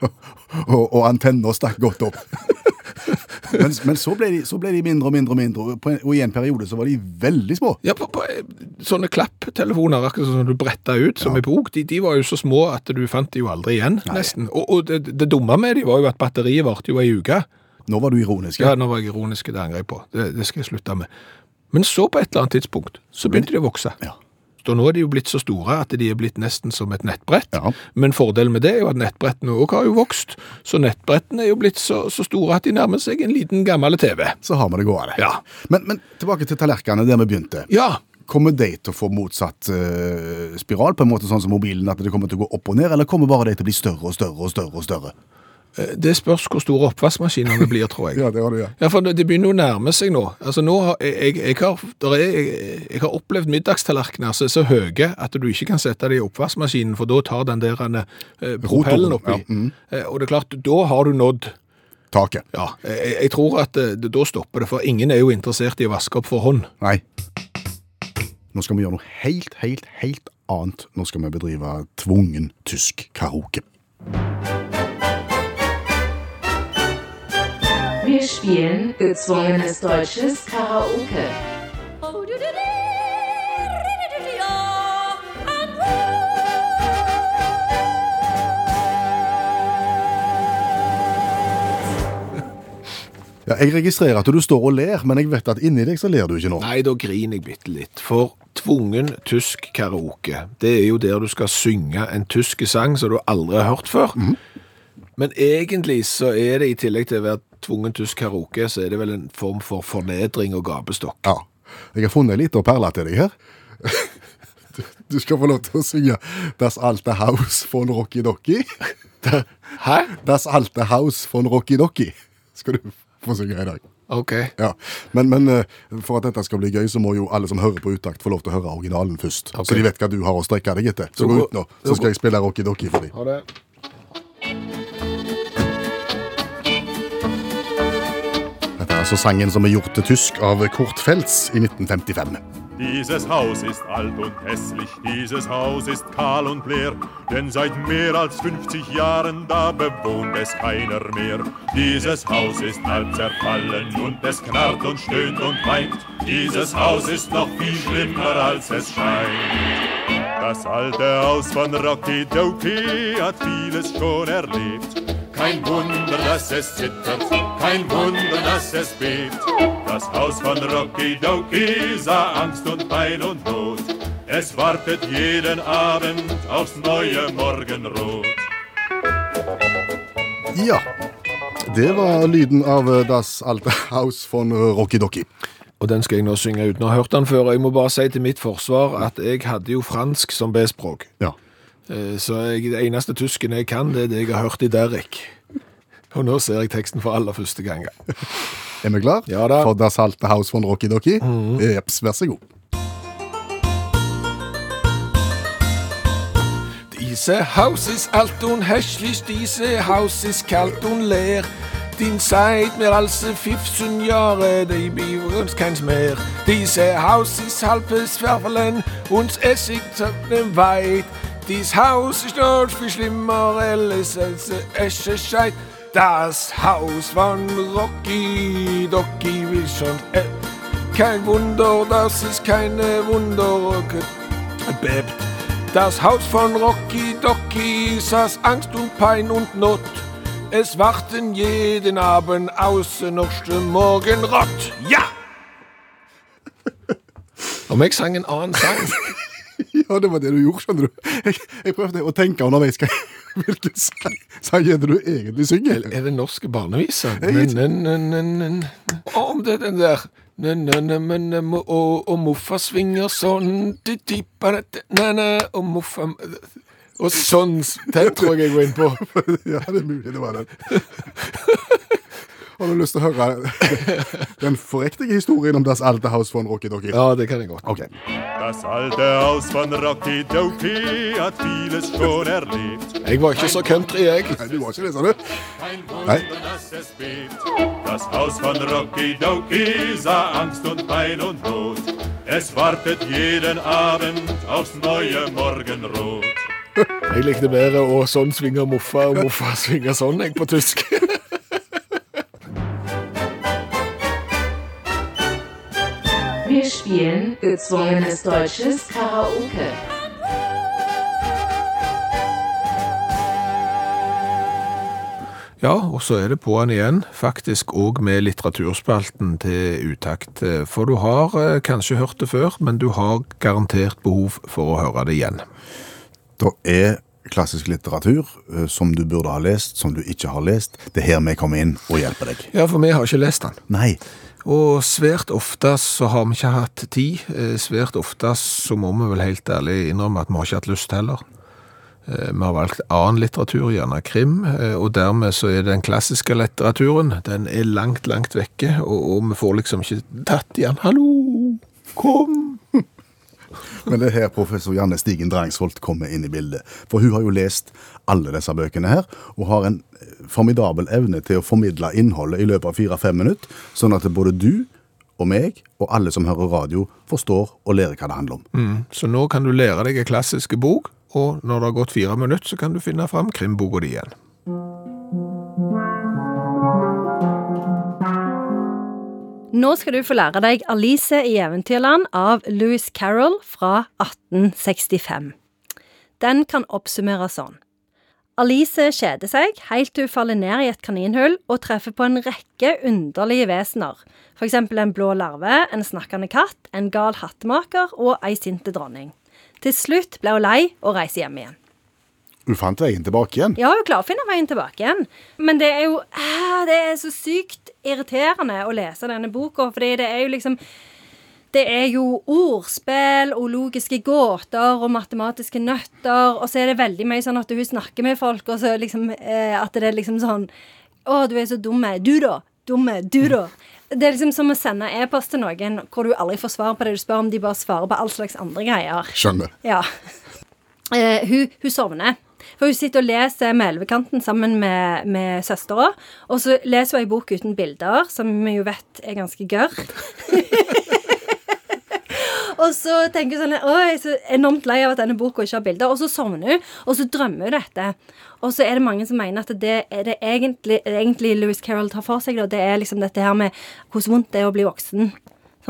Speaker 2: Og, og antenna stakk godt opp. Men, men så, ble de, så ble de mindre og mindre og mindre, og på en- og i en periode så var de veldig små.
Speaker 3: Ja, på, på eh, sånne klapptelefoner, akkurat sånn som du bretta ut som i bok, de, de var jo så små at du fant de jo aldri igjen, nesten. Og, og det, det dumme med de var jo at batteriet varte jo ei uke.
Speaker 2: Nå var du ironisk.
Speaker 3: Ja, nå var jeg ironisk, det angrer jeg på. Det, det skal jeg slutte med. Men så på et eller annet tidspunkt, så begynte de å vokse.
Speaker 2: Ja.
Speaker 3: Så nå er de jo blitt så store at de er blitt nesten som et nettbrett.
Speaker 2: Ja.
Speaker 3: Men fordelen med det er jo at nettbrettene òg har jo vokst. Så nettbrettene er jo blitt så, så store at de nærmer seg en liten gammel TV.
Speaker 2: Så har vi det gående.
Speaker 3: Ja.
Speaker 2: Men, men tilbake til tallerkenene der vi begynte.
Speaker 3: Ja,
Speaker 2: Kommer de til å få motsatt eh, spiral, på en måte sånn som mobilen, at det kommer til å gå opp og ned, eller kommer bare de til å bli større og større og større? og større?
Speaker 3: eh, det spørs hvor store oppvaskmaskinene blir, tror jeg.
Speaker 2: det har du, ja.
Speaker 3: Ja, for det det begynner jo å nærme seg nå. Altså nå har jeg, jeg, jeg, har, der er, jeg, jeg har opplevd middagstallerkener som er så høye at du ikke kan sette dem i oppvaskmaskinen, for da tar den der eh, propellen oppi.
Speaker 2: ja, mhm.
Speaker 3: Eh, og det er klart, da har du nådd
Speaker 2: Taket.
Speaker 3: Ja, jeg, jeg tror at eh, det, da stopper det, for ingen er jo interessert i å vaske opp for hånd.
Speaker 2: Nei. Nå skal vi gjøre noe helt, helt, helt annet. Nå skal vi bedrive tvungen tysk karaoke.
Speaker 7: Wir spielen gezwungenes deutsches Karaoke.
Speaker 2: Ja, jeg registrerer at du står og ler, men jeg vet at inni deg så ler du ikke nå.
Speaker 3: Nei, da griner jeg bitte litt, for tvungen tysk karaoke, det er jo der du skal synge en tysk sang som du aldri har hørt før. Men egentlig så er det i tillegg til å være tvungen tysk karaoke, så er det vel en form for fornedring og gapestokk.
Speaker 2: Ja. Jeg har funnet ei lita perle til deg her. Du- Du skal få lov til å synge Das Alte Haus von Rocky Docky.
Speaker 3: Hæ?
Speaker 2: Das Alte Haus von Rocky Docky skal du få synge i dag.
Speaker 3: Ok.
Speaker 2: Ja. Men, men eh, for at dette skal bli gøy, så må jo alle som hører på utakt, få lov til å høre originalen først.
Speaker 3: Ok.
Speaker 2: Så de vet hva du har å strekke deg etter. Så gå ut nå, så skal jeg spille Rocky Docky for dem.
Speaker 3: Ha det.
Speaker 2: Dette er altså sangen som er gjort til tysk av Kurt Feltz i 1955.
Speaker 8: Dieses Haus ist alt und hässlich, dieses Haus ist kahl und leer, denn seit mehr als 50 Jahren da bewohnt es keiner mehr. Dieses Haus ist halb zerfallen und es knarrt und stöhnt und weint. Dieses Haus ist noch viel schlimmer als es scheint. Das alte Haus von Rocky Doki hat vieles schon erlebt. Kein Wunder, dass es zittert, kein Wunder, dass es bebt. Das Haus von Rocky Doki sah Angst und Pein und Not. Es wartet jeden Abend aufs neue Morgenrot.
Speaker 2: Ja. Det var lyden av eh, Das Alte Haus von Rocky Docky.
Speaker 3: Og den skal jeg nå synge uten å ha hørt den før. og Jeg må bare si til mitt forsvar at jeg hadde jo fransk som B-språk.
Speaker 2: Ja.
Speaker 3: Eh, Så jeg, det eneste tysken jeg kan, det er det jeg har hørt i Derek. Og nå ser jeg teksten for aller første gang.
Speaker 2: Er vi klar?
Speaker 3: Ja da.
Speaker 2: For Das Alte Haus von Rocky Docky? Jeps, vær så god.
Speaker 3: Diese Haus ist alt und hässlich, diese Haus ist kalt und leer. Din Zeit mehr als 15 Jahre, die bietet uns keins mehr. Diese Haus ist halbes Verfallen und es ist weit. Dies Haus ist noch viel schlimmer, alles als Esche scheit. Das Haus von Rocky Docky will schon. Äh, kein Wunder, das ist keine Wunder. bebt. Das Haus von Rocky Docky saß Angst und Pein und Not. Es warten jeden Abend außer noch Morgenrott. Ja! Om jeg sang en annen "Ah, sang
Speaker 2: Ja, det var det du gjorde, skjønner du. Jeg, jeg prøvde å tenke underveis hva- hvilken sang, sang er det du egentlig synger.
Speaker 3: Er det norske barneviser? Å, Om det er den Oh, der Næ, næ, næ, mæ, næ, må, å, Og moffa svinger sånn di, di, ba, da, da, næ, næ, Og moffa Og sånn Den tror jeg jeg går inn på.
Speaker 2: Ja, det er mulig det var den. Har du lyst til å høre den forriktige historien om Das Alte Haus von Rocky Docky?
Speaker 3: Ja, det kan jeg godt.
Speaker 2: Ok.
Speaker 8: Das alte Haus von Rocky Doki hat vieles schon erlebt.
Speaker 3: Jeg var ikke så country, jeg.
Speaker 2: Nei, du var ikke det, sa du?
Speaker 8: Kein Wunder, dass es bebt. Das Haus von Rocky Doki sah Angst und Pein und Not. Es wartet jeden Abend aufs neue Morgenrot.
Speaker 3: Jeg likte bedre å sånn svinge moffa og moffa svinge sånn, jeg, på tysk.
Speaker 7: Wir spielen gezwungenes deutsches Karaoke.
Speaker 3: Ja, og så er det på'n igjen, faktisk òg med litteraturspalten til Utakt. For du har eh, kanskje hørt det før, men du har garantert behov for å høre det igjen.
Speaker 2: Det er klassisk litteratur eh, som du burde ha lest, som du ikke har lest. Det er her vi kommer inn og hjelper deg.
Speaker 3: Ja, for vi har ikke lest den.
Speaker 2: Nei.
Speaker 3: Og svært ofte så har vi ikke hatt tid. Eh, Svært ofte så må vi vel helt ærlig innrømme at vi har ikke hatt lyst heller. Eh, Vi har valgt annen litteratur, gjerne krim, eh, og dermed så er den klassiske litteraturen, den er langt, langt vekke, og, og vi får liksom ikke tatt i den. Hallo, kom!
Speaker 2: Men det er her professor Janne Stigen Drangsvold kommer inn i bildet. For hun har jo lest alle disse bøkene her, og har en eh, formidabel evne til å formidle innholdet i løpet av fire-fem minutter, sånn at både du og meg, og alle som hører radio, forstår og lærer hva det handler om.
Speaker 3: Så nå kan du lære deg en klassiske bok, og når det har gått fire minutter, så kan du finne fram krimboka di igjen.
Speaker 9: Nå skal du få lære deg Alice i Eventyrland av Lewis Carroll fra 1865. Den kan oppsummere sånn. Alice kjeder seg helt til hun faller ned i et kaninhull og treffer på en rekke underlige vesener, for eksempel en blå larve, en snakkende katt, en gal hattemaker og ei sinte dronning. Til slutt ble hun lei og reiser hjem igjen.
Speaker 2: Hun fant veien tilbake igjen.
Speaker 9: Ja, hun klarer å finne veien tilbake igjen. Men det er jo ah, Det er så sykt irriterende å lese denne boka, fordi det er jo liksom det er jo ordspill og logiske gåter og matematiske nøtter, og så er det veldig mye sånn at hun snakker med folk, og så liksom eh, At det er liksom sånn Å, du er så dumme. Du, da. Dumme. Du, da. Det er liksom som å sende e-post til noen hvor du aldri får svar på det du spør om, de bare svarer på all slags andre greier.
Speaker 2: Skjønner.
Speaker 9: Ja. Eh, hun, hun sovner. For hun sitter og leser med elvekanten sammen med, med søstera. Og så leser hun ei bok uten bilder, som vi jo vet er ganske gørr. og så tenker hun sånn Å, jeg er så enormt lei av at denne boka ikke har bilder. Og så sovner hun, og så drømmer hun dette. Og så er det mange som mener at det er det egentlig, egentlig Lewis Carroll tar for seg, da. Det er liksom dette her med hvordan vondt det er å bli voksen.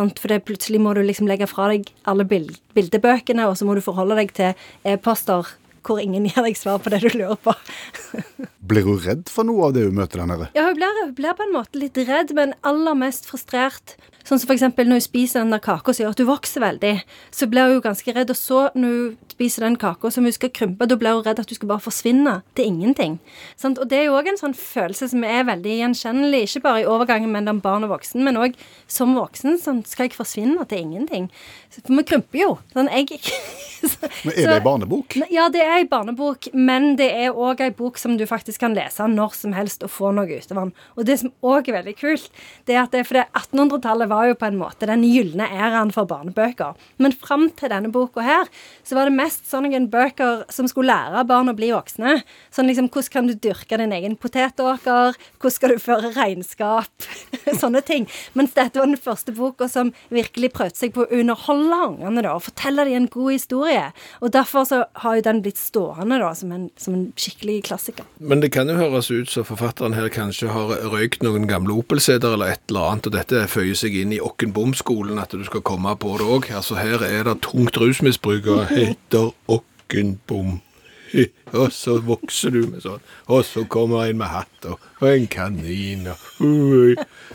Speaker 9: Sant? For det, plutselig må du liksom legge fra deg alle bil bildebøkene, og så må du forholde deg til e-poster hvor ingen gir deg svar på det du lurer på.
Speaker 2: Blir hun redd for noe av det hun møter der nede?
Speaker 9: Ja, hun blir, hun blir på en måte litt redd, men aller mest frustrert. Sånn som for eksempel når hun spiser den der kaka som gjør at hun vokser veldig, så blir hun jo ganske redd. Og så, når hun spiser den kaka som hun skal krympe, da blir hun redd at hun skal bare forsvinne til ingenting. Sant? Og det er jo òg en sånn følelse som er veldig gjenkjennelig, ikke bare i overgangen mellom barn og voksen, men òg som voksen. Sånn, skal jeg forsvinne til ingenting? Så- For vi krymper jo. Sånn, jeg
Speaker 2: Men er det en barnebok?
Speaker 9: Ne- Ja, det er ei barnebok, men det er òg ei bok som du faktisk kan lese når som helst og få noe ut av den. Og det som òg er veldig kult, det er at det, for det 1800-tallet var jo på en måte den gylne æraen for barnebøker. Men fram til denne boka her, så var det mest sånne bøker som skulle lære barn å bli voksne. Sånn liksom hvordan kan du dyrke din egen potetåker, hvordan skal du føre regnskap, sånne ting. Mens dette var den første boka som virkelig prøvde seg på å underholde ungene da, og fortelle dem en god historie. Og derfor så har jo den blitt stående da, som en, som en skikkelig klassiker.
Speaker 5: Men det kan jo høres ut som forfatteren her kanskje har røykt noen gamle Opel-seter eller et eller annet, og dette føyer seg inn i Okkenbom-skolen, at du skal komme på det òg. Altså, her er det tungt rusmisbruk og heter Okkenbom. Og så vokser du med sånn, og så kommer en med hatt og, og en kanin og ui.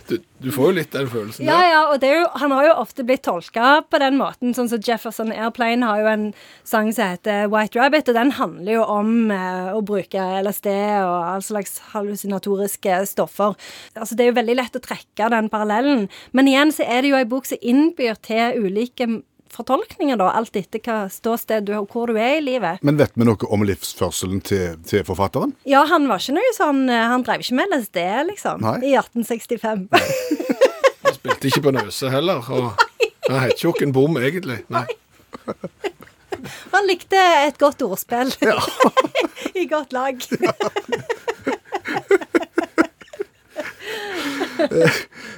Speaker 5: du, du får jo litt den følelsen
Speaker 9: Ja,
Speaker 5: der.
Speaker 9: ja, og det er jo, han har jo ofte blitt tolka på den måten. Sånn som Jefferson Airplane har jo en sang som heter White Rabbit, og den handler jo om eh, å bruke LSD og all slags hallusinatoriske stoffer. Altså, det er jo veldig lett å trekke den parallellen. Men igjen så er det jo ei bok som innbyr til ulike fortolkninger, da, alt etter hva ståsted du har, hvor du er i livet.
Speaker 2: Men vet vi noe om livsførselen til, til forfatteren?
Speaker 9: Ja, han var ikke noe sånn eh, Han drev ikke med LSD, liksom,
Speaker 2: Nei.
Speaker 9: i 1865.
Speaker 5: Han spilte ikke på Nøse heller. Og, han heter ikke Okkenbom egentlig. Nei.
Speaker 9: Han likte et godt ordspill. I godt lag.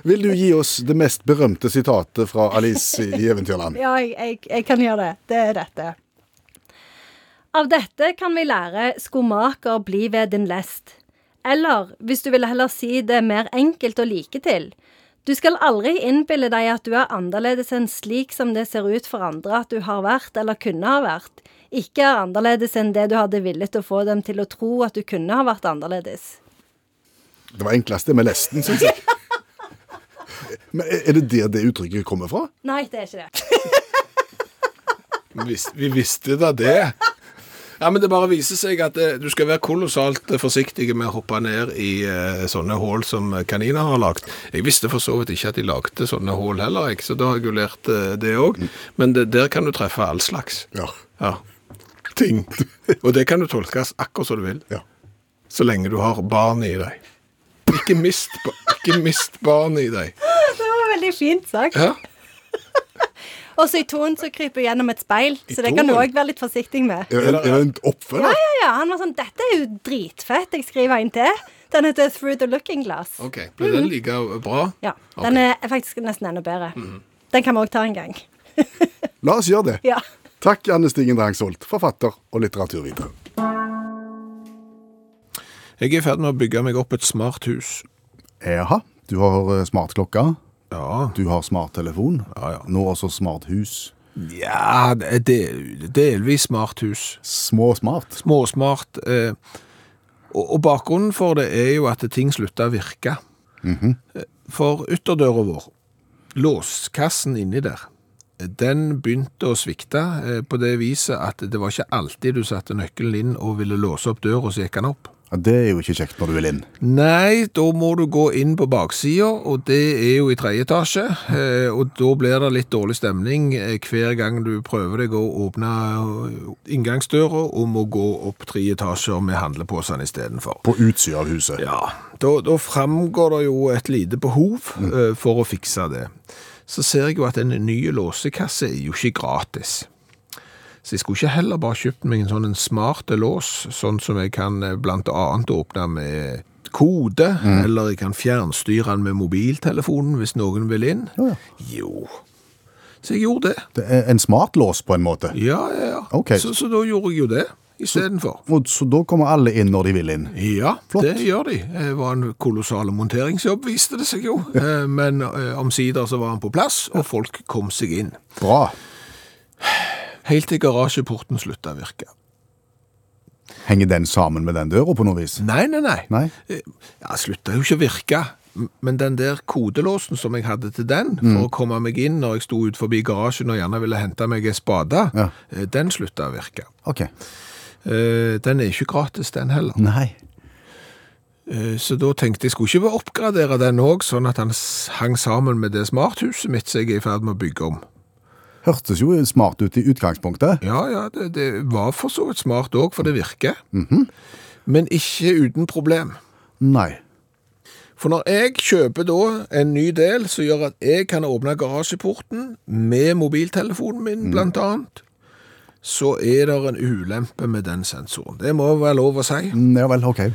Speaker 2: Vil du gi oss det mest berømte sitatet fra Alice i Eventyrland?
Speaker 9: Ja, jeg, jeg, jeg kan gjøre det. Det er dette. Av dette kan vi lære skomaker bli ved din lest. Eller, hvis du vil heller si det mer enkelt og like til, Du skal aldri innbille deg at du er annerledes enn slik som det ser ut for andre at du har vært eller kunne ha vært. Ikke er annerledes enn det du hadde villet å få dem til å tro at du kunne ha vært annerledes.
Speaker 2: Det var enkleste med lesten, syns jeg. Men Er det der det uttrykket kommer fra?
Speaker 9: Nei, det er ikke det.
Speaker 5: Vis- Vi visste da det. Ja, men Det bare viser seg at eh, du skal være kolossalt eh, forsiktig med å hoppe ned i eh, sånne hull som kaniner har lagd. Jeg visste for så vidt ikke at de lagde sånne hull heller, jeg, så da har jeg jo lært eh, det òg. Men det, der kan du treffe all slags.
Speaker 2: Ja.
Speaker 5: Ja. Ting. Og det kan du tolkes akkurat som du vil,
Speaker 2: ja.
Speaker 5: så lenge du har barn i deg. Ikke mist, ba- ikke mist barn i deg.
Speaker 9: Det var veldig fint sagt.
Speaker 5: Ja.
Speaker 9: Og så i toen så kryper hun gjennom et speil, så det kan du
Speaker 5: toen?
Speaker 9: òg være litt forsiktig med.
Speaker 2: Er det, er det en oppfølger?
Speaker 9: Ja, ja, han var sånn Dette er jo dritfett. Jeg skriver en til. Den heter Through the Looking Glass.
Speaker 5: OK. Ble den like bra?
Speaker 9: Ja, Den er faktisk nesten enda bedre. Den kan vi òg ta en gang.
Speaker 2: La oss gjøre det.
Speaker 9: Ja.
Speaker 2: Takk, Anne Stigen Drangsholt, forfatter og litteraturviter.
Speaker 3: Jeg er i ferd med å bygge meg opp et smart hus.
Speaker 2: Jaha, du har eh, smartklokka,
Speaker 3: Ja,
Speaker 2: du har smarttelefon,
Speaker 3: Ja, ja.
Speaker 2: nå også smarthus.
Speaker 3: ja det er del- delvis smart hus.
Speaker 2: Små smart.
Speaker 3: småsmart. Eh, og, og bakgrunnen for det er jo at ting slutta å virke. Eh, For ytterdøra vår, låskassen inni der, eh, den begynte å svikte eh, på det viset at det var ikke alltid du satte nøkkelen inn og ville låse opp døra, så gikk den opp.
Speaker 2: Ja, det er jo ikke kjekt når du vil inn.
Speaker 3: Nei, da må du gå inn på baksida, og det er jo i tredje etasje. eh, Og da blir det litt dårlig stemning eh, hver gang du prøver deg å åpne eh, inngangsdøra og må gå opp tre etasjer med handlepåsene istedenfor.
Speaker 2: På utsida av huset.
Speaker 3: Ja, da, da framgår det jo et lite behov
Speaker 2: Mm.
Speaker 3: eh, for å fikse det. Så ser jeg jo at en ny låsekasse er jo ikke gratis. Så jeg skulle ikke heller bare kjøpt meg en sånn en smart lås, sånn som jeg kan eh, blant annet åpne med kode,
Speaker 2: Mm.
Speaker 3: eller jeg kan fjernstyre den med mobiltelefonen hvis noen vil inn.
Speaker 2: Ja, ja.
Speaker 3: Jo. Så jeg gjorde det.
Speaker 2: Det er en smart lås, på en måte.
Speaker 3: Ja, ja, ja.
Speaker 2: Ok.
Speaker 3: Så, så da gjorde jeg jo det istedenfor.
Speaker 2: Og så da kommer alle inn når de vil inn.
Speaker 3: Ja,
Speaker 2: Flott.
Speaker 3: det gjør de. Eh, Det var en kolossal monteringsjobb, viste det seg jo. Eh, Men eh, omsider så var han på plass, og folk kom seg inn.
Speaker 2: Bra.
Speaker 3: Helt til garasjeporten slutta å virke.
Speaker 2: Henger den sammen med den døra på noe vis?
Speaker 3: Nei, nei, nei.
Speaker 2: Nei?
Speaker 3: Eh, Ja, slutta jo ikke å virke. M- Men den der kodelåsen som jeg hadde til den,
Speaker 2: Mm.
Speaker 3: for å komme meg inn når jeg sto ut forbi garasjen og gjerne ville hente meg ei spade,
Speaker 2: Ja.
Speaker 3: eh, den slutta å virke.
Speaker 2: Ok.
Speaker 3: Eh, Den er ikke gratis, den heller.
Speaker 2: Nei.
Speaker 3: Eh, Så da tenkte jeg skulle ikke bare oppgradere den òg, sånn at han s- hang sammen med det smarthuset mitt som jeg er i ferd med å bygge om.
Speaker 2: Hørtes jo smart ut i utgangspunktet.
Speaker 3: Ja, ja, det, det var for så vidt smart òg, for det virker. Men ikke uten problem.
Speaker 2: Nei.
Speaker 3: For når jeg kjøper da en ny del som gjør at jeg kan åpne garasjeporten med mobiltelefonen min, blant annet, så er det en ulempe med den sensoren. Det må være lov å si.
Speaker 2: Mm, Ja vel, ok.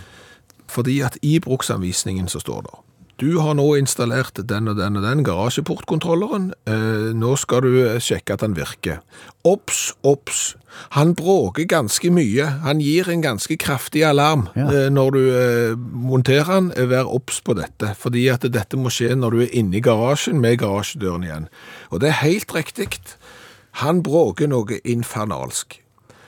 Speaker 3: Fordi at i bruksanvisningen så står det du har nå installert den og den og den garasjeportkontrolleren. Eh, nå skal du eh, sjekke at den virker. Obs, obs. Han bråker ganske mye. Han gir en ganske kraftig alarm
Speaker 2: Ja.
Speaker 3: eh, når du eh, monterer den. Eh, Vær obs på dette, fordi at dette må skje når du er inne i garasjen med garasjedøren igjen. Og det er helt riktig. Han bråker noe infernalsk.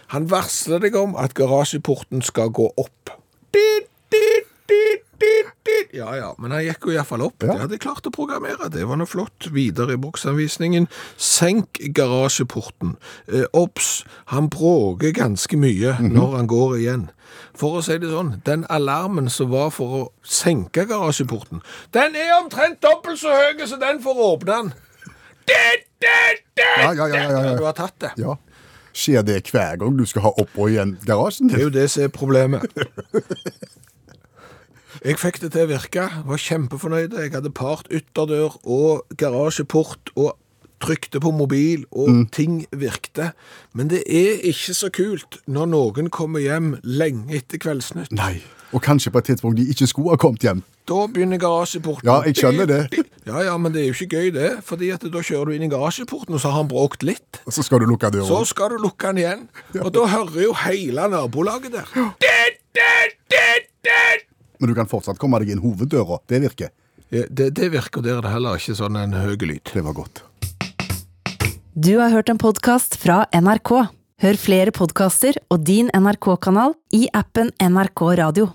Speaker 3: Han varsler deg om at garasjeporten skal gå opp. Dit, dit, dit, dit, dit. Ja, ja, men han gikk jo iallfall opp. Det hadde jeg klart å programmere. Det var noe flott. Videre i bruksanvisningen. Senk garasjeporten. Eh, Obs, han bråker ganske mye
Speaker 2: Mhm.
Speaker 3: når han går igjen. For å si det sånn, den alarmen som var for å senke garasjeporten, den er omtrent dobbelt så høy, så den får åpne den. Dit, dit, dit.
Speaker 2: Ja, ja, ja, ja, ja.
Speaker 3: Du har tatt det.
Speaker 2: Ja. Skjer det hver gang du skal ha opp og igjen garasjen
Speaker 3: Det er
Speaker 2: din?
Speaker 3: jo det som er problemet. Jeg fikk det til å virke, var kjempefornøyd. Jeg hadde part ytterdør og garasjeport og trykte på mobil, og
Speaker 2: Mm.
Speaker 3: ting virkte. Men det er ikke så kult når noen kommer hjem lenge etter Kveldsnytt.
Speaker 2: Nei. Og kanskje på et tidspunkt de ikke skulle ha kommet hjem.
Speaker 3: Da begynner garasjeporten.
Speaker 2: Ja, jeg skjønner det.
Speaker 3: Ja, ja, men det er jo ikke gøy det, fordi at da kjører du inn i garasjeporten, og så har han bråkt litt.
Speaker 2: Og så skal du lukke døra.
Speaker 3: Så skal du lukke den igjen, og da hører jo hele nabolaget der. Det, det, det, det.
Speaker 2: Men du kan fortsatt komme deg inn hoveddøra. Det virker.
Speaker 3: Eh, Det, det virker der det heller ikke sånn en høy lyd.
Speaker 2: Det var godt.
Speaker 1: Du har hørt en podkast fra NRK. Hør flere podkaster og din NRK-kanal i appen NRK Radio.